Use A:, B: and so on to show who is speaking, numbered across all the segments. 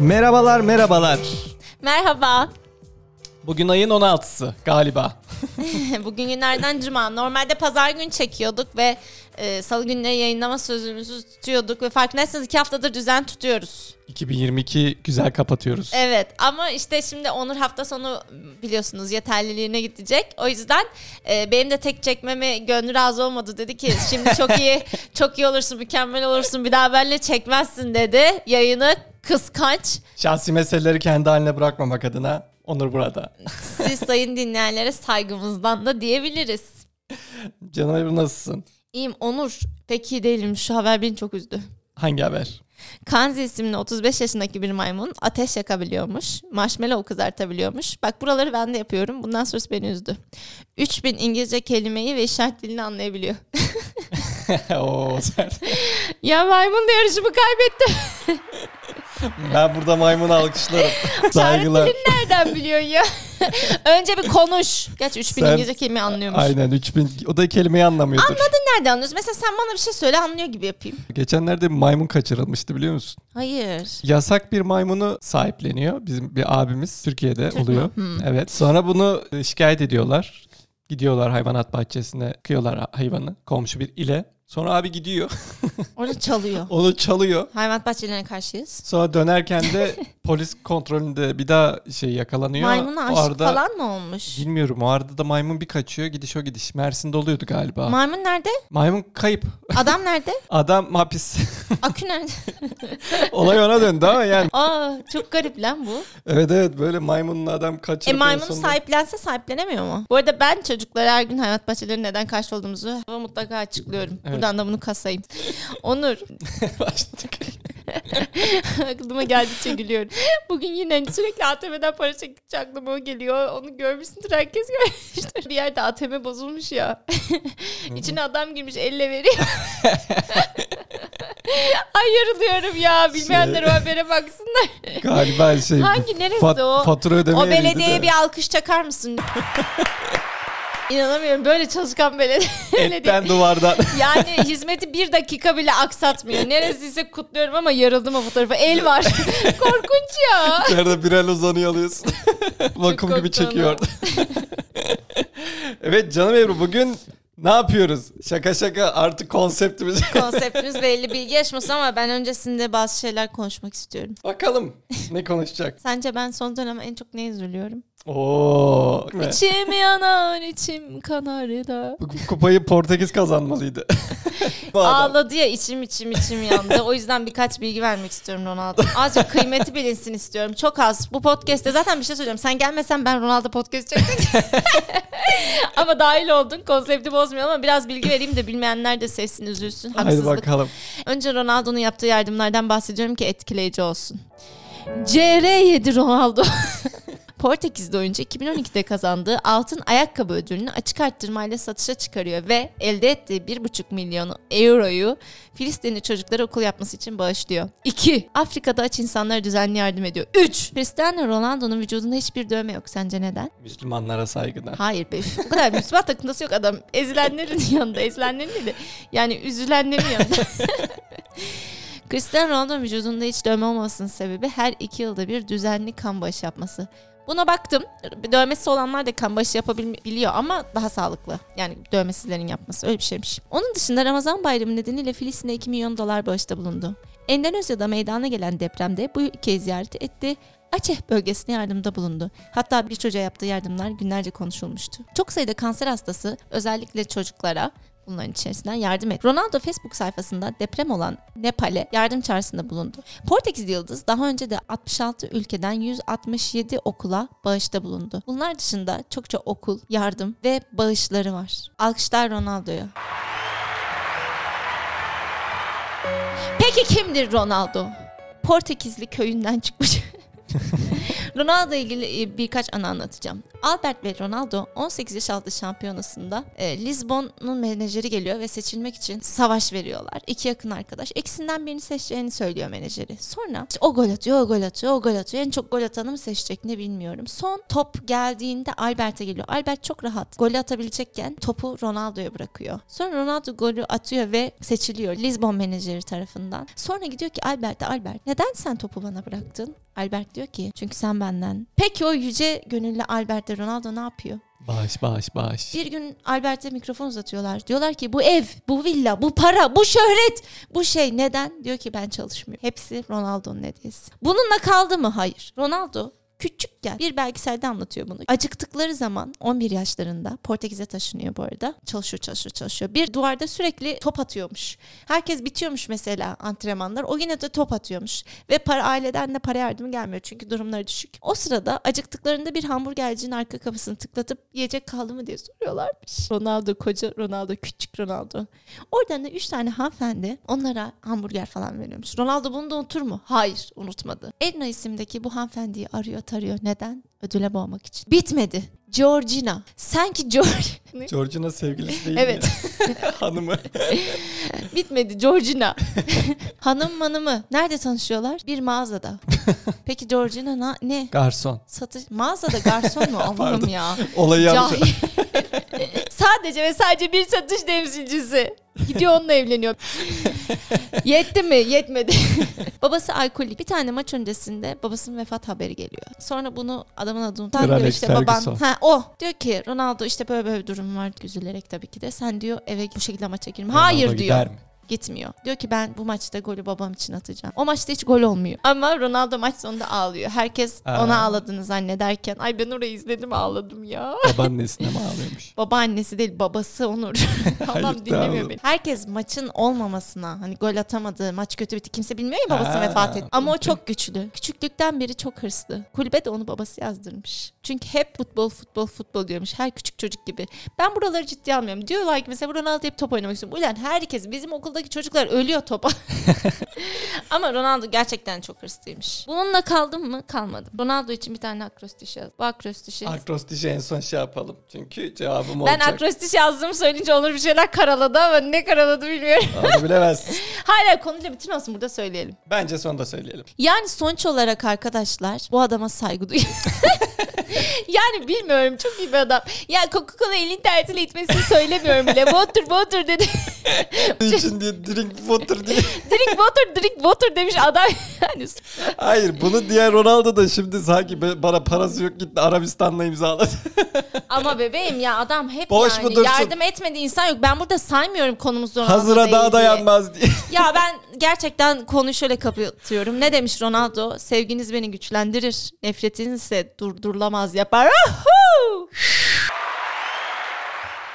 A: Merhabalar merhabalar.
B: Merhaba.
A: Bugün ayın 16'sı galiba.
B: Bugün günlerden cuma. Normalde pazar günü çekiyorduk ve e, salı günleri yayınlama sözümüzü tutuyorduk ve farkındaysanız iki haftadır düzen tutuyoruz.
A: 2022 güzel kapatıyoruz.
B: Evet ama işte şimdi Onur hafta sonu biliyorsunuz yeterliliğine gidecek. O yüzden e, benim de tek çekmeme gönlü razı olmadı. Dedi ki şimdi çok iyi çok iyi olursun mükemmel olursun bir daha benimle çekmezsin dedi yayını kıskanç.
A: Şahsi meseleleri kendi haline bırakmamak adına Onur burada.
B: Siz sayın dinleyenlere saygımızdan da diyebiliriz.
A: Canım Ebru nasılsın?
B: İyiyim Onur. Pek iyi değilim. Şu haber beni çok üzdü.
A: Hangi haber?
B: Kanzi isimli 35 yaşındaki bir maymun ateş yakabiliyormuş. Marshmallow kızartabiliyormuş. Bak buraları ben de yapıyorum. Bundan sonrası beni üzdü. 3000 İngilizce kelimeyi ve işaret dilini anlayabiliyor.
A: Oo, sert.
B: ya maymun da yarışımı kaybetti.
A: ben burada maymun alkışlarım.
B: İşaret
A: Saygılar.
B: dilini nereden biliyor ya? Önce bir konuş. Gerçi 3000
A: Sen-
B: İngilizce kelimeyi anlıyormuş.
A: Aynen 3000 o da kelimeyi anlamıyordur.
B: Nereden anlıyorsun? Mesela sen bana bir şey söyle anlıyor gibi yapayım.
A: Geçenlerde bir maymun kaçırılmıştı biliyor musun?
B: Hayır.
A: yasak bir maymunu sahipleniyor. Bizim bir abimiz Türkiye'de oluyor. Evet. Sonra bunu e, şikayet ediyorlar. Gidiyorlar hayvanat bahçesine, kıyorlar ha- hayvanı komşu bir ile. Sonra abi gidiyor,
B: Onu çalıyor.
A: onu çalıyor.
B: Hayvanat bahçelerine karşıyız.
A: Sonra dönerken de polis kontrolünde bir daha şey yakalanıyor.
B: Maymuna aşık
A: O arada-
B: falan mı olmuş?
A: Bilmiyorum o arada da maymun bir kaçıyor gidiş o gidiş. Mersin'de oluyordu galiba.
B: Maymun nerede?
A: maymun kayıp.
B: Adam nerede?
A: Adam hapis.
B: Akü nerede?
A: Olay ona döndü ama yani.
B: Aa çok garip lan bu.
A: Evet evet böyle maymunun adam
B: E
A: kaçırıp en
B: maymunu
A: sonunda-
B: sahiplense sahiplenemiyor mu? Bu arada ben çocuklara her gün hayvanat bahçelerinin neden karşı olduğumuzu mutlaka açıklıyorum.
A: Evet.
B: Buradan da bunu kasayım. Onur
A: Başladık.
B: aklıma geldikçe gülüyorum. Bugün yine sürekli ATM'den para çektikçe aklıma o geliyor. Onu görmüşsündür herkes görmüştür. Bir yerde ATM bozulmuş ya. İçine adam girmiş elle veriyor. Ay yarılıyorum ya. Bilmeyenler o habere baksınlar.
A: Galiba şey
B: Hangi, neresi
A: fat-
B: o?
A: fatura ödemeye
B: O belediyeye bir alkış çakar mısın? İnanamıyorum böyle çalışkan belediye. belediye.
A: etten duvardan.
B: Yani hizmeti bir dakika bile aksatmıyor. Neresiyse kutluyorum ama yarıldım o fotoğrafa. El var. Korkunç ya.
A: Nerede bir el uzanıyor alıyorsun. Vakum gibi
B: korktu
A: çekiyor. evet canım Ebru bugün ne yapıyoruz? Şaka şaka artık konseptimiz.
B: Konseptimiz belli bilgi yaşması ama ben öncesinde bazı şeyler konuşmak istiyorum.
A: Bakalım ne konuşacak?
B: Sence ben son dönem en çok ne üzülüyorum?
A: Oo.
B: İçim yanar, içim kanar da.
A: Bu Kupayı Portekiz kazanmalıydı. Bu adam.
B: Ağladı ya içim içim içim yandı. O yüzden birkaç bilgi vermek istiyorum Ronaldo. Azıcık kıymeti bilinsin istiyorum. Çok az. Bu podcast'te zaten bir şey söyleyeceğim. Sen gelmesen ben Ronaldo podcast çekecektim. ama dahil oldun. Konsepti bozmuyor ama biraz bilgi vereyim de bilmeyenler de sevsin, üzülsün.
A: Haydi
B: Haksızlık.
A: bakalım.
B: Önce Ronaldo'nun yaptığı yardımlardan bahsediyorum ki etkileyici olsun. CR7 Ronaldo. Portekizli oyuncu 2012'de kazandığı altın ayakkabı ödülünü açık arttırmayla satışa çıkarıyor ve elde ettiği 1,5 milyon euroyu Filistinli çocuklara okul yapması için bağışlıyor. 2. Afrika'da aç insanlara düzenli yardım ediyor. 3. Cristiano Ronaldo'nun vücudunda hiçbir dövme yok. Sence neden?
A: Müslümanlara saygıdan.
B: Hayır be. üf, Bu kadar Müslüman takıntısı yok adam. Ezilenlerin yanında. Ezilenlerin değil de. Yani üzülenlerin yanında. Cristiano Ronaldo'nun vücudunda hiç dövme olmamasının sebebi her iki yılda bir düzenli kan bağışı yapması. Buna baktım. Dövmesi olanlar da kan bağışı yapabiliyor ama daha sağlıklı. Yani dövmesizlerin yapması öyle bir şeymiş. Onun dışında Ramazan bayramı nedeniyle Filistin'e 2 milyon dolar bağışta bulundu. Endonezya'da meydana gelen depremde bu ülkeyi ziyaret etti. Aceh bölgesine yardımda bulundu. Hatta bir çocuğa yaptığı yardımlar günlerce konuşulmuştu. Çok sayıda kanser hastası özellikle çocuklara bunların içerisinden yardım et. Ronaldo Facebook sayfasında deprem olan Nepal'e yardım çağrısında bulundu. Portekizli Yıldız daha önce de 66 ülkeden 167 okula bağışta bulundu. Bunlar dışında çokça okul, yardım ve bağışları var. Alkışlar Ronaldo'ya. Peki kimdir Ronaldo? Portekizli köyünden çıkmış. Ronaldo ile ilgili e, birkaç anı anlatacağım. Albert ve Ronaldo 18 yaş altı şampiyonasında e, Lisbon'un menajeri geliyor ve seçilmek için savaş veriyorlar. İki yakın arkadaş. İkisinden birini seçeceğini söylüyor menajeri. Sonra işte o gol atıyor, o gol atıyor, o gol atıyor. En çok gol atanı mı seçecek ne bilmiyorum. Son top geldiğinde Albert'e geliyor. Albert çok rahat. Golü atabilecekken topu Ronaldo'ya bırakıyor. Sonra Ronaldo golü atıyor ve seçiliyor Lisbon menajeri tarafından. Sonra gidiyor ki Albert'e Albert neden sen topu bana bıraktın? Albert diyor ki çünkü sen benden. Peki o yüce gönüllü Albert'le Ronaldo ne yapıyor?
A: Bağış bağış bağış.
B: Bir gün Albert'e mikrofon uzatıyorlar. Diyorlar ki bu ev, bu villa, bu para, bu şöhret, bu şey neden? Diyor ki ben çalışmıyorum. Hepsi Ronaldo'nun hediyesi. Bununla kaldı mı? Hayır. Ronaldo küçükken bir belgeselde anlatıyor bunu. Acıktıkları zaman 11 yaşlarında Portekiz'e taşınıyor bu arada. Çalışıyor çalışıyor çalışıyor. Bir duvarda sürekli top atıyormuş. Herkes bitiyormuş mesela antrenmanlar. O yine de top atıyormuş. Ve para aileden de para yardımı gelmiyor çünkü durumları düşük. O sırada acıktıklarında bir hamburgercinin arka kapısını tıklatıp yiyecek kaldı mı diye soruyorlarmış. Ronaldo koca Ronaldo küçük Ronaldo. Oradan da 3 tane hanımefendi onlara hamburger falan veriyormuş. Ronaldo bunu da unutur mu? Hayır unutmadı. Edna isimdeki bu hanımefendiyi arıyor tarıyor. Neden? Ödüle boğmak için. Bitmedi. Georgina. Sanki Georgina.
A: Georgina sevgilisi değil
B: Evet.
A: mi? Hanımı.
B: Bitmedi Georgina. Hanım manımı. Nerede tanışıyorlar? Bir mağazada. Peki Georgina na- ne?
A: Garson.
B: Satış mağazada garson mu? Allah'ım
A: Pardon.
B: ya.
A: Olayı yanlış.
B: Cahil. sadece ve sadece bir satış temsilcisi. Gidiyor onunla evleniyor. Yetti mi? Yetmedi. Babası alkolik. Bir tane maç öncesinde babasının vefat haberi geliyor. Sonra bunu adamın adını
A: Kral
B: tanıyor işte
A: Alex
B: baban.
A: Ferguson.
B: Ha, o diyor ki Ronaldo işte böyle böyle bir durum var üzülerek tabii ki de. Sen diyor eve bu şekilde maça girme. Hayır
A: Ronaldo
B: diyor
A: gider mi?
B: gitmiyor. Diyor ki ben bu maçta golü babam için atacağım. O maçta hiç gol olmuyor. Ama Ronaldo maç sonunda ağlıyor. Herkes
A: Aa.
B: ona ağladığını zannederken ay ben orayı izledim ağladım ya.
A: Babaannesine mi ağlıyormuş?
B: Babaannesi değil babası Onur. Allah'ım
A: Haluk da
B: dinlemiyor
A: ağladı.
B: beni. Herkes maçın olmamasına hani gol atamadığı maç kötü bitti. Kimse bilmiyor ya babası
A: Ha,
B: vefat etti. Ama o
A: okey.
B: çok güçlü. Küçüklükten beri çok hırslı. Kulübe de onu babası yazdırmış. Çünkü hep futbol futbol futbol diyormuş. Her küçük çocuk gibi. Ben buraları ciddiye almıyorum. Diyorlar ki mesela Ronaldo hep top oynamak istiyorum. Ulan herkes bizim okuldaki çocuklar ölüyor topa. Ama Ronaldo gerçekten çok hırslıymış. Bununla kaldım mı? Kalmadım. Ronaldo için bir tane akrostişi yaz. Bu akrostişi
A: Akrostişi en son şey yapalım. Çünkü cevabım
B: ben
A: olacak.
B: akrostiş yazdığımı söyleyince Onur bir şeyler karaladı ama ne karaladı bilmiyorum.
A: Onu bilemezsin.
B: Hala konuyla bütün olsun burada söyleyelim.
A: Bence son da söyleyelim.
B: Yani sonuç olarak arkadaşlar bu adama saygı duyuyorum. yani bilmiyorum çok iyi bir adam. Ya Coca-Cola elin tersiyle itmesini söylemiyorum bile. Water water dedi.
A: için diye drink water diye.
B: drink water drink water demiş adam. Yani
A: Hayır bunu diğer Ronaldo da şimdi sanki be- bana parası yok gitti Arabistan'la imzaladı.
B: ama bebeğim ya adam hep
A: Boş mu
B: yani
A: dursun?
B: yardım etmedi insan yok. Ben burada saymıyorum konumuz Ronaldo
A: Hazıra
B: değil
A: daha
B: diye.
A: dayanmaz diye.
B: Ya ben gerçekten konuyu şöyle kapatıyorum. Ne demiş Ronaldo? Sevginiz beni güçlendirir. Nefretiniz ise durdurulamaz yapar. Ahu!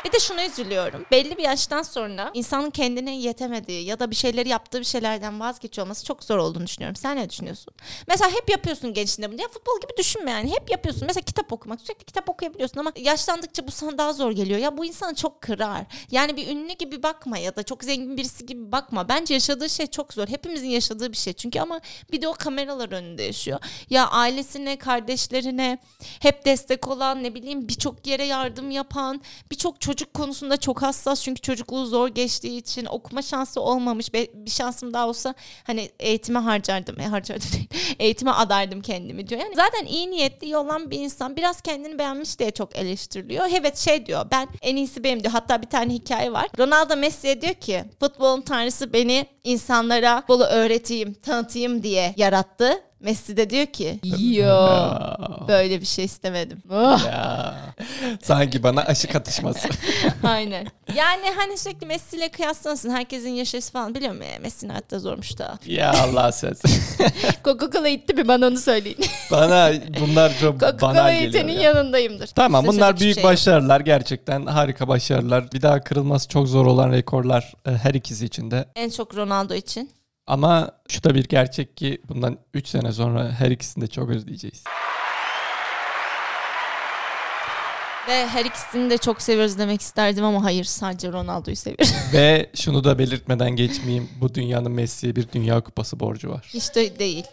B: Bir de şuna üzülüyorum. Belli bir yaştan sonra insanın kendine yetemediği ya da bir şeyleri yaptığı bir şeylerden vazgeçiyor olması çok zor olduğunu düşünüyorum. Sen ne düşünüyorsun? Mesela hep yapıyorsun gençliğinde bunu. Ya futbol gibi düşünme yani. Hep yapıyorsun. Mesela kitap okumak. Sürekli kitap okuyabiliyorsun ama yaşlandıkça bu sana daha zor geliyor. Ya bu insanı çok kırar. Yani bir ünlü gibi bakma ya da çok zengin birisi gibi bakma. Bence yaşadığı şey çok zor. Hepimizin yaşadığı bir şey çünkü ama bir de o kameralar önünde yaşıyor. Ya ailesine, kardeşlerine hep destek olan ne bileyim birçok yere yardım yapan, birçok çocuk konusunda çok hassas çünkü çocukluğu zor geçtiği için okuma şansı olmamış. Be- Bir şansım daha olsa hani eğitime harcardım, e, harcardım değil, eğitime adardım kendimi diyor. Yani zaten iyi niyetli, iyi olan bir insan biraz kendini beğenmiş diye çok eleştiriliyor. Evet şey diyor ben en iyisi benim diyor. Hatta bir tane hikaye var. Ronaldo Messi'ye diyor ki futbolun tanrısı beni insanlara futbolu öğreteyim, tanıtayım diye yarattı. Messi de diyor ki yo böyle bir şey istemedim. Oh.
A: Ya. Sanki bana aşık atışması.
B: Aynen. Yani hani sürekli Messi ile kıyaslanırsın. Herkesin yaşası falan biliyor musun? Ee, Messi'nin hayatta zormuş da.
A: ya Allah sensin.
B: Coca-Cola itti mi bana onu söyleyin.
A: Bana bunlar çok
B: Coca-Cola
A: banal geliyor.
B: itenin
A: ya.
B: yanındayımdır.
A: Tamam
B: Size
A: bunlar
B: söyleyecek
A: büyük
B: şey yok.
A: başarılar gerçekten harika başarılar. Bir daha kırılması çok zor olan rekorlar e, her ikisi için de.
B: En çok Ronaldo için.
A: Ama şu da bir gerçek ki bundan 3 sene sonra her ikisini de çok özleyeceğiz.
B: Ve her ikisini de çok seviyoruz demek isterdim ama hayır sadece Ronaldo'yu seviyoruz.
A: Ve şunu da belirtmeden geçmeyeyim. Bu dünyanın Messi'ye bir dünya kupası borcu var.
B: Hiç de değil.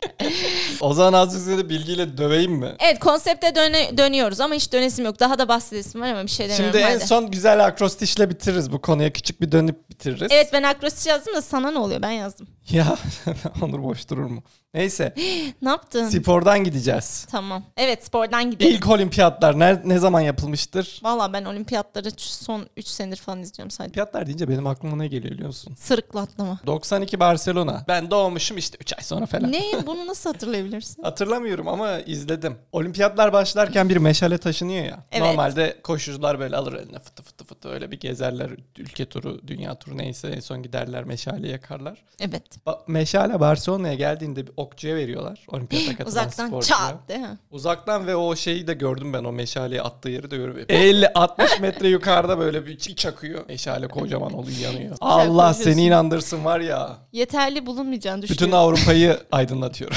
A: O zaman azıcık seni bilgiyle döveyim mi?
B: Evet konsepte döne- dönüyoruz ama hiç dönesim yok. Daha da bahsedesim var ama bir şey demiyorum.
A: Şimdi en
B: Hadi.
A: son güzel akrostişle bitiririz. Bu konuya küçük bir dönüp bitiririz.
B: Evet ben akrostiş yazdım da sana ne oluyor ben yazdım.
A: Ya Onur boş durur mu? Neyse
B: Ne yaptın?
A: spordan gideceğiz.
B: Tamam. Evet spordan gidelim.
A: İlk olimpiyatlar ne, ne zaman yapılmıştır?
B: Valla ben olimpiyatları ç- son 3 senedir falan izliyorum sadece.
A: Olimpiyatlar deyince benim aklıma ne geliyor biliyor musun?
B: Sırıkla atlama.
A: 92 Barcelona. Ben doğmuşum işte 3 ay sonra falan.
B: Ne? Bunu nasıl hatırlayabilirsin?
A: Hatırlamıyorum ama izledim. Olimpiyatlar başlarken bir meşale taşınıyor ya.
B: Evet.
A: Normalde koşucular böyle alır eline fıtı fıtı fıtı öyle bir gezerler. Ülke turu, dünya turu neyse en son giderler meşale yakarlar.
B: Evet.
A: Ba- meşale Barcelona'ya geldiğinde bir okçuya veriyorlar. Olimpiyata katılan
B: Eh, Uzaktan
A: sporcuya.
B: çat değil mi?
A: Uzaktan ve o şeyi de gördüm ben o meşaleyi attığı yeri de gördüm.
B: E,
A: 50-60 metre yukarıda böyle bir çi- çakıyor. Meşale kocaman oluyor yanıyor. Allah
B: konuşuyorsun.
A: seni inandırsın var ya.
B: Yeterli bulunmayacağını
A: Bütün
B: düşünüyorum.
A: Avrupa'yı aydınlatıyor.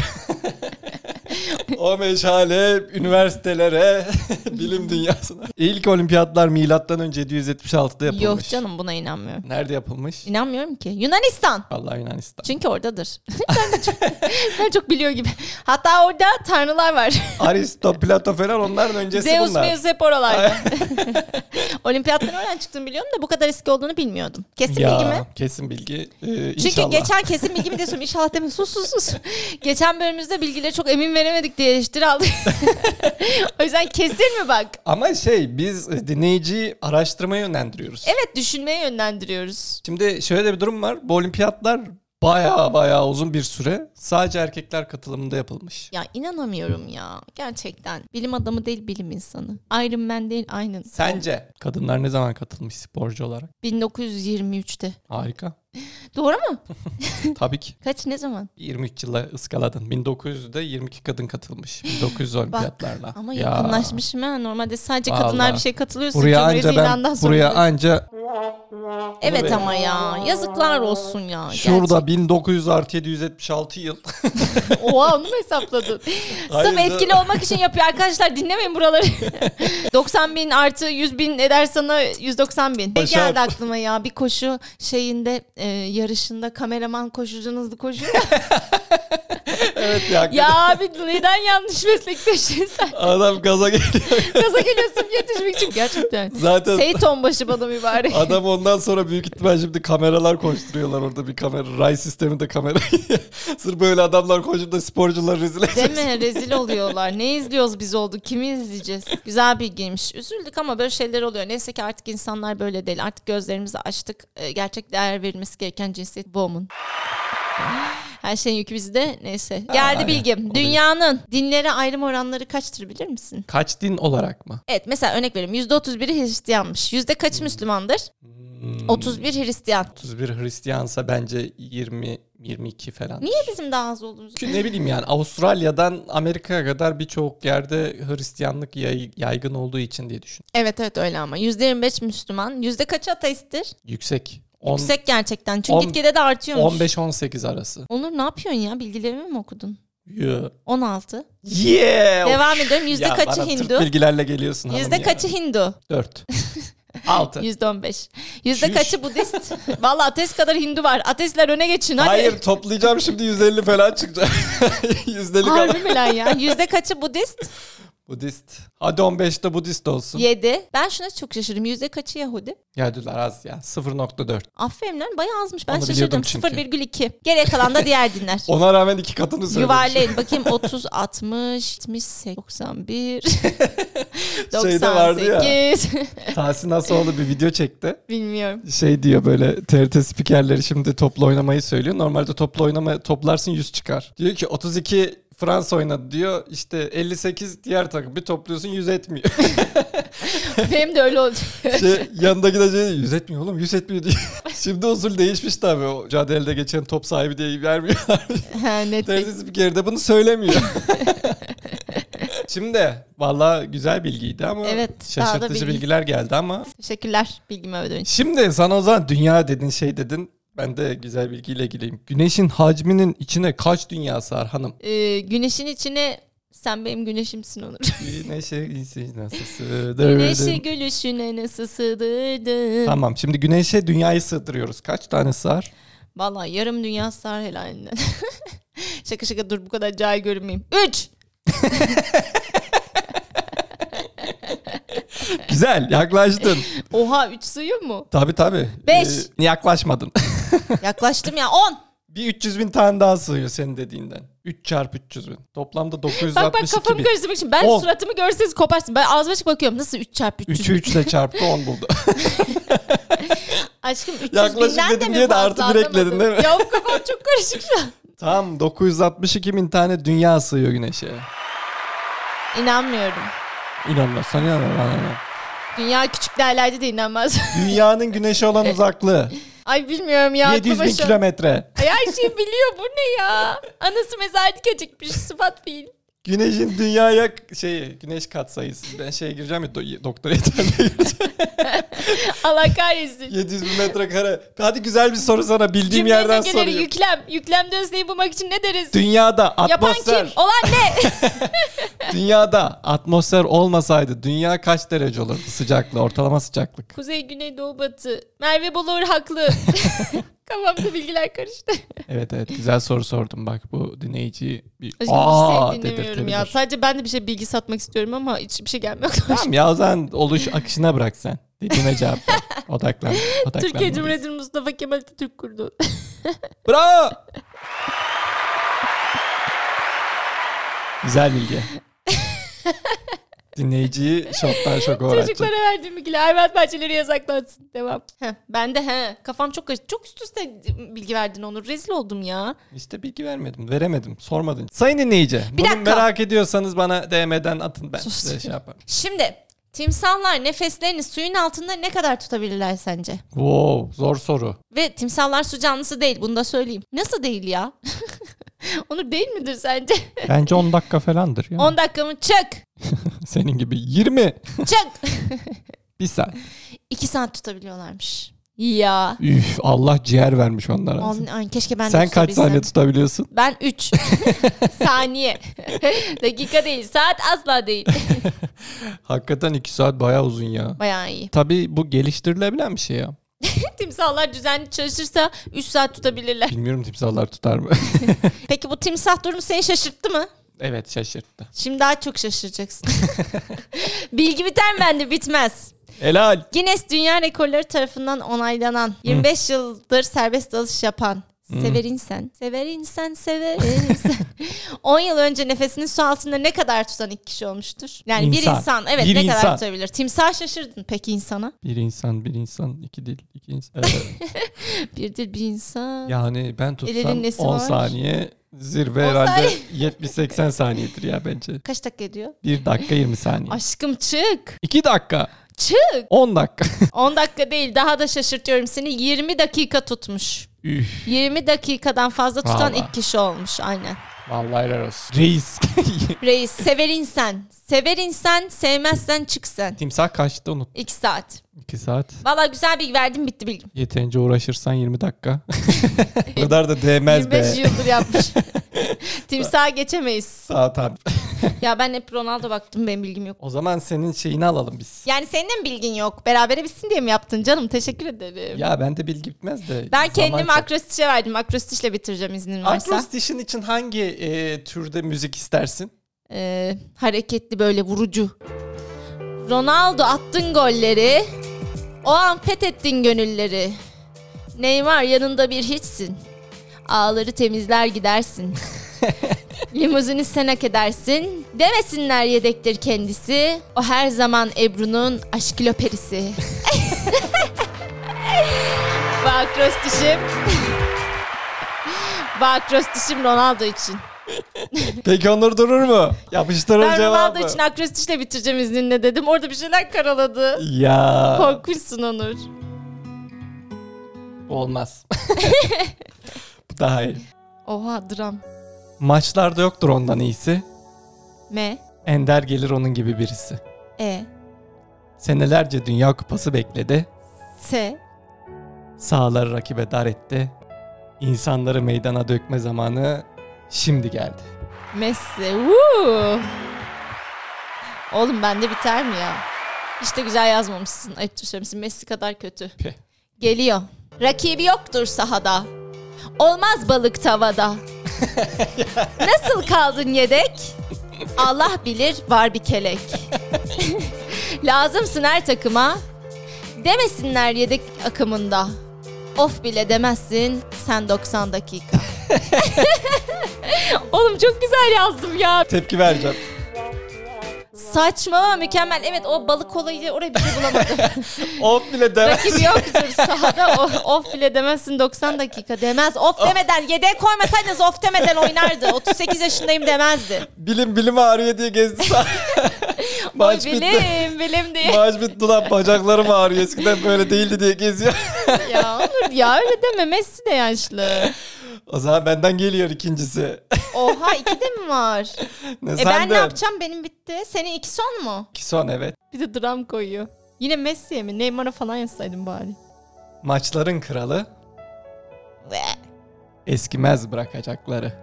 A: o meşale üniversitelere, bilim dünyasına. İlk olimpiyatlar milattan önce 776'da yapılmış.
B: Yok canım buna inanmıyorum.
A: Nerede yapılmış?
B: İnanmıyorum ki. Yunanistan.
A: Allah Yunanistan.
B: Çünkü oradadır. ben, de çok, ben çok biliyor gibi. Hatta orada tanrılar var.
A: Aristo, Plato falan onların öncesi
B: Zeus
A: bunlar.
B: Meus hep oralarda. Olimpiyattan oradan çıktığını biliyorum da bu kadar eski olduğunu bilmiyordum. Kesin
A: ya,
B: bilgi mi?
A: Kesin bilgi. Ee,
B: Çünkü
A: inşallah.
B: geçen kesin bilgi mi diyorsun? İnşallah demin sus sus sus. geçen bölümümüzde bilgilere çok emin veremedik diye eleştiri aldık. o yüzden kesin mi bak?
A: Ama şey biz e, dinleyiciyi araştırmaya yönlendiriyoruz.
B: Evet düşünmeye yönlendiriyoruz.
A: Şimdi şöyle de bir durum var. Bu olimpiyatlar baya baya uzun bir süre sadece erkekler katılımında yapılmış.
B: Ya inanamıyorum ya. Gerçekten. Bilim adamı değil bilim insanı. Iron Man değil aynı.
A: Sence kadınlar ne zaman katılmış sporcu olarak?
B: 1923'te.
A: Harika.
B: Doğru mu?
A: Tabii ki.
B: Kaç ne zaman?
A: 23 yıla ıskaladın. 1900'de 22 kadın katılmış. 1900
B: Bak
A: olimpiyatlarla.
B: ama
A: Ya.
B: yakınlaşmışım ha. Normalde sadece
A: Vallahi.
B: kadınlar bir şey katılıyorsun.
A: Buraya
B: Cumhuriyet
A: anca ben
B: ilanından sonra.
A: buraya anca
B: Evet
A: Buraya.
B: ama ya. Yazıklar olsun ya.
A: şurada 1900 artı 776 yıl.
B: Gerçekten. Oha onu mu hesapladın?
A: Hayır,
B: Sırf etkili olmak için yapıyor arkadaşlar. Dinlemeyin buraları. 90 bin artı 100 bin eder sana 190 bin. Ne
A: Başar.
B: geldi aklıma ya? Bir koşu şeyinde e, yarışında kameraman koşucunuz hızlı koşuyor.
A: evet ya.
B: ya abi neden yanlış meslek seçtin sen?
A: Adam gaza geliyor.
B: Gaza geliyorsun yetişmek için. Gerçekten.
A: Zaten
B: Seyit onbaşı bana mübarek.
A: adam ondan sonra büyük ihtimal şimdi kameralar koşturuyorlar orada bir kamera. Ray sisteminde kamera. Sırf böyle adamlar koşup da sporcular rezil
B: Değil
A: etsin.
B: mi? Rezil oluyorlar. Ne izliyoruz biz oldu? Kimi izleyeceğiz? Güzel bilgiymiş. Üzüldük ama böyle şeyler oluyor. Neyse ki artık insanlar böyle değil. Artık gözlerimizi açtık. Ee, Gerçek değer verilmesi gereken cinsiyet boğumun. Her şeyin yükü bizde. Neyse. Geldi
A: aynen.
B: bilgim.
A: Oluyor.
B: Dünyanın dinlere ayrım oranları kaçtır bilir misin?
A: Kaç din olarak mı?
B: Evet mesela örnek vereyim. %31'i Hristiyanmış. Yüzde
A: Hmm.
B: kaçı Müslümandır? 31 Hristiyan.
A: 31 Hristiyansa bence 20 22 falan.
B: Niye bizim daha az olduğumuz?
A: Çünkü ne bileyim yani Avustralya'dan Amerika'ya kadar birçok yerde Hristiyanlık yay- yaygın olduğu için diye düşün.
B: Evet evet öyle ama. %25 Müslüman. Yüzde kaçı ateisttir?
A: Yüksek. On-
B: Yüksek gerçekten. Çünkü
A: on-
B: gitgide de artıyormuş.
A: 15-18 arası.
B: Onur ne yapıyorsun ya? Bilgilerimi mi okudun?
A: Yeah.
B: 16.
A: Yeah.
B: Devam
A: Of.
B: ediyorum. Yüzde
A: Ya
B: kaçı
A: bana Türk
B: Hindu?
A: bilgilerle geliyorsun hanım
B: Yüzde
A: ya.
B: kaçı Hindu?
A: 4. 6.
B: Yüzde 15. Yüzde
A: Şiş.
B: kaçı Budist? Valla ateist kadar Hindu var. Ateistler öne geçin hadi.
A: Hayır toplayacağım şimdi 150 falan çıkacak. Yüzdelik
B: Harbi
A: adam.
B: mi lan ya? Yüzde kaçı Budist?
A: Budist. Hadi 15'te Budist olsun.
B: 7. Ben şuna çok şaşırdım. Yüzde kaçı Yahudi?
A: Ya diyorlar az ya. 0.4.
B: Aferin lan bayağı azmış. Ben
A: Onu biliyordum
B: şaşırdım.
A: çünkü.
B: 0,2. Geriye kalan da diğer dinler.
A: Ona rağmen iki katını söylemiş.
B: Yuvarlayın. Bakayım 30, 60, 70, 91,
A: Şeyde vardı ya.
B: 98.
A: Tahsin Asoğlu bir video çekti.
B: Bilmiyorum.
A: şey diyor böyle TRT spikerleri şimdi toplu oynamayı söylüyor. Normalde toplu oynama toplarsın 100 çıkar. Diyor ki 32 Fransa oynadı diyor. İşte 58 diğer takım bir topluyorsun 100 etmiyor.
B: Benim de öyle oldu.
A: şey, yanındaki de şey diyor, 100 etmiyor oğlum 100 etmiyor diyor. şimdi usul değişmiş tabii. O mücadelede geçen top sahibi diye vermiyor.
B: ha, net
A: TRT spikeri de bunu söylemiyor. Şimdi valla güzel bilgiydi ama
B: Evet, daha da
A: şaşırtıcı
B: bilgi-
A: bilgiler geldi ama
B: Teşekkürler bilgimi övdüğün için.
A: Şimdi sana o zaman dünya dedin şey dedin. Ben de güzel bilgiyle gireyim. Güneşin hacminin içine kaç dünya sığar hanım?
B: Ee, güneşin içine sen benim güneşimsin Onur.
A: Güneşe nasıl
B: Güneşi
A: sığdırdın?
B: gülüşüne nasıl sığdırdın?
A: Tamam şimdi güneşe dünyayı sığdırıyoruz. Kaç tane sığar?
B: Vallahi yarım dünya sar helalinden. şaka şaka dur bu kadar cahil görünmeyeyim. Üç!
A: Güzel yaklaştın.
B: Oha üç sığıyor mu?
A: tabii tabii.
B: Beş.
A: Ee, yaklaşmadın.
B: Yaklaştım ya on!
A: bir 300 bin tane daha sığıyor senin dediğinden. 3 çarpı 300 bin. Toplamda
B: Bak bak
A: 962
B: kafamı
A: bin.
B: karıştırmak için. Ben
A: On.
B: suratımı görseniz koparsın. Ben ağzıma açık bakıyorum. Nasıl 3 çarpı 300?
A: 3'ü 3 ile çarptı 10 buldu.
B: Aşkım 300
A: Yaklaşık
B: binden de
A: dedim
B: mi
A: diye de
B: fazla
A: artı bir ekledin
B: anlamadım.
A: değil mi?
B: Ya bu kafam çok karışık şu an.
A: Tam 962 bin tane dünya sığıyor güneşe.
B: İnanmıyorum.
A: İnanmazsan inanma bana. ne?
B: Dünya küçük derlerdi de inanmaz.
A: Dünyanın güneşe olan
B: E,
A: uzaklığı
B: Ay bilmiyorum ya.
A: 700 bin
B: aklıma şu an-
A: kilometre.
B: Ay her şeyi biliyor bu ne ya? Anası mezar dikecekmiş sıfat değil.
A: Güneşin dünyaya k- şeyi, güneş katsayısı. Ben şeye gireceğim ya do- doktora yeterli.
B: Allah kahretsin.
A: 700 bin metrekare. Hadi güzel bir soru sana bildiğim yerden
B: ögeleri,
A: sorayım.
B: yüklem. Yüklemde özneyi bulmak için ne deriz?
A: Dünyada
B: Yapan
A: atmosfer,
B: kim? Olan ne?
A: dünyada atmosfer olmasaydı dünya kaç derece olurdu sıcaklığı, ortalama sıcaklık?
B: Kuzey, güney, doğu, batı. Merve Bolur haklı. Kafamda bilgiler karıştı.
A: Evet evet güzel soru sordum bak bu dinleyiciyi bir
B: Aşkım
A: aa
B: hiç şey dinlemiyorum ya.
A: dedirtebilir.
B: Sadece ben de bir şey bilgi satmak istiyorum ama hiçbir şey gelmiyor.
A: Tamam ya o zaman oluş akışına bırak sen. Dediğime cevap ver. Odaklan. odaklan
B: Türkiye Cumhuriyeti Mustafa Kemal Atatürk kurdu.
A: Bravo. güzel bilgi. Dinleyiciyi şoktan şoka uğratacak.
B: Çocuklara verdiğim bilgiler hayvan bahçeleri yasaklansın. Devam. Heh, ben de he. Kafam çok karıştı. Çok üst üste bilgi verdin Onur. Rezil oldum ya.
A: İşte bilgi vermedim. Veremedim. Sormadın. Sayın dinleyici. bunu
B: dakika.
A: merak ediyorsanız bana DM'den atın ben.
B: Sus.
A: Size şey yaparım.
B: Şimdi timsahlar nefeslerini suyun altında ne kadar tutabilirler sence?
A: Wow zor soru.
B: Ve timsahlar su canlısı değil. Bunu da söyleyeyim. Nasıl değil ya? Onur değil midir sence?
A: Bence 10 dakika falandır. Ya.
B: 10 dakikamı çık.
A: Senin gibi 20.
B: Çık.
A: Bir saat.
B: 2 saat tutabiliyorlarmış. Ya.
A: Üf Allah ciğer vermiş onlara.
B: Aman, ay, keşke ben de
A: Sen kaç
B: tutabilsem.
A: saniye tutabiliyorsun?
B: Ben 3 saniye. Dakika değil, saat asla değil.
A: Hakikaten 2 saat bayağı uzun ya.
B: Bayağı iyi.
A: Tabii bu geliştirilebilen bir şey ya.
B: Timsahlar düzenli çalışırsa 3 saat tutabilirler.
A: Bilmiyorum timsallar tutar mı?
B: Peki bu timsah durumu seni şaşırttı mı?
A: evet şaşırttı.
B: Şimdi daha çok şaşıracaksın. Bilgi biter bende bitmez.
A: Helal.
B: Guinness Dünya Rekorları tarafından onaylanan, 25 yıldır serbest dalış yapan, sever insan, sever insan, sever insan. 10 yıl önce nefesini su altında ne kadar tutan ilk kişi olmuştur? Yani bir
A: İnsan.
B: insan, evet
A: Bir
B: ne
A: insan.
B: kadar tutabilir? Timsah şaşırdın peki insana.
A: Bir insan, bir insan, iki dil, iki insan.
B: Bir dil bir insan.
A: yani ben tutsam
B: Elinin nesi
A: 10
B: var?
A: saniye zirve
B: 10
A: herhalde 70-80 saniyedir ya bence.
B: Kaç dakika ediyor?
A: 1 dakika 20 saniye.
B: Aşkım çık.
A: 2 dakika,
B: Çık.
A: 10 dakika.
B: 10 dakika değil daha da şaşırtıyorum seni. 20 dakika tutmuş.
A: Üf.
B: 20 dakikadan fazla tutan
A: Vallahi.
B: ilk kişi olmuş aynen.
A: Vallahi helal olsun. Reis.
B: Reis sever insan. Sever insan sevmezsen çık sen.
A: Timsah kaçtı unut.
B: 2 saat.
A: 2 saat.
B: Valla güzel bilgi verdim bitti bilgim.
A: Yeterince uğraşırsan 20 dakika. Bu kadar da değmez
B: 25
A: be.
B: yıldır yapmış. Timsaha geçemeyiz.
A: Saat abi.
B: Ya ben hep Ronaldo baktım benim bilgim yok.
A: O zaman senin şeyini alalım biz.
B: Yani senin de mi bilgin yok? Berabere bitsin diye mi yaptın canım? Teşekkür ederim.
A: Ya bende bilgi bitmez de.
B: ben
A: zaman
B: kendimi
A: çok.
B: akrostişe verdim. Akrostişle bitireceğim iznin varsa.
A: Akrostişin için hangi e, türde müzik istersin?
B: Ee, hareketli böyle vurucu. Ronaldo attın golleri. O an fethettin gönülleri. Neymar yanında bir hiçsin. Ağları temizler gidersin. Limuzini sen hak edersin. Demesinler yedektir kendisi. O her zaman Ebru'nun aşkilo perisi. Bu akrostişim. Bu akrostişim Ronaldo için.
A: Peki Onur durur mu? Yapıştırın
B: Ben
A: cevabı.
B: Ronaldo için akrostişle bitireceğim izninle dedim. Orada bir şeyler karaladı.
A: Ya.
B: Korkmuşsun Onur.
A: Olmaz. Bu daha iyi.
B: Oha dram.
A: Maçlarda yoktur ondan iyisi.
B: M.
A: Ender gelir onun gibi birisi.
B: E.
A: Senelerce Dünya Kupası bekledi.
B: S.
A: Sahaları rakibe dar etti. İnsanları meydana dökme zamanı şimdi geldi.
B: Messi. Woo. Oğlum bende biter mi ya? Hiç de güzel yazmamışsın. Ayıp düşürmüşsün. Messi kadar kötü.
A: Püh.
B: Geliyor. Rakibi yoktur sahada. Olmaz balık tavada. Nasıl kaldın yedek? Allah bilir var bir kelek. Lazımsın her takıma. Demesinler yedek akımında. Of bile demezsin sen 90 dakika. Oğlum çok güzel yazdım ya.
A: Tepki vereceğim.
B: Saçmalama mükemmel. Evet o balık olayı oraya bir şey bulamadım.
A: Of bile demez.
B: Rakip yoktur sahada. O- Of bile demezsin 90 dakika demez. Of
A: Ah.
B: demeden yedeğe koymasaydınız of demeden oynardı. 38 yaşındayım demezdi.
A: Bilim bilim ağrıyor diye gezdi sahne.
B: Oy
A: Maç bitti.
B: bilim bilim diye.
A: Maç bitti lan bacaklarım ağrıyor. Eskiden böyle değildi diye geziyor.
B: ya olur ya öyle deme Messi de yaşlı.
A: o zaman benden geliyor ikincisi.
B: Oha iki de mi var?
A: ne
B: E ben
A: sandın?
B: ne yapacağım benim bitti. Senin iki son mu?
A: İki son evet.
B: Bir de dram koyuyor. Yine Messi'ye mi? Neymar'a falan yazsaydın bari.
A: Maçların kralı eskimez bırakacakları.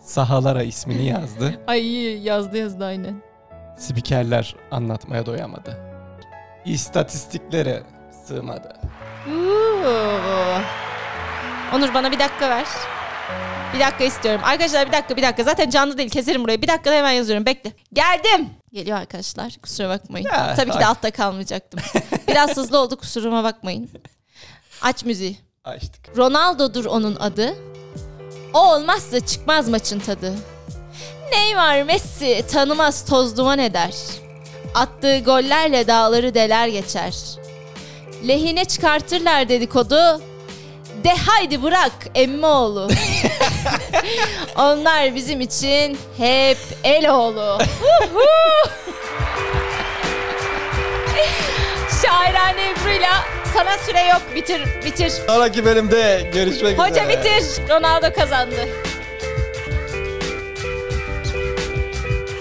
A: Sahalara ismini yazdı.
B: Ay yazdı yazdı aynen.
A: Spikerler anlatmaya doyamadı. İstatistiklere sığmadı.
B: Oo. Onur bana bir dakika ver. Bir dakika istiyorum. Arkadaşlar bir dakika bir dakika. Zaten canlı değil keserim burayı. Bir dakikada hemen yazıyorum. Bekle. Geldim. Geliyor arkadaşlar. Kusura bakmayın.
A: Ya,
B: Tabii ki
A: ay.
B: de altta kalmayacaktım. Biraz hızlı oldu kusuruma bakmayın. Aç müziği.
A: Açtık.
B: Ronaldo'dur onun adı. O olmazsa çıkmaz maçın tadı. Neymar Messi tanımaz toz duman eder. Attığı gollerle dağları deler geçer. Lehine çıkartırlar dedikodu. De haydi bırak emmioğlu. Onlar bizim için hep Eloğlu. Huhu! Şairane Ebru'yla sana süre yok bitir bitir.
A: Sonraki bölümde görüşmek üzere.
B: Hoca bitir. Ronaldo kazandı.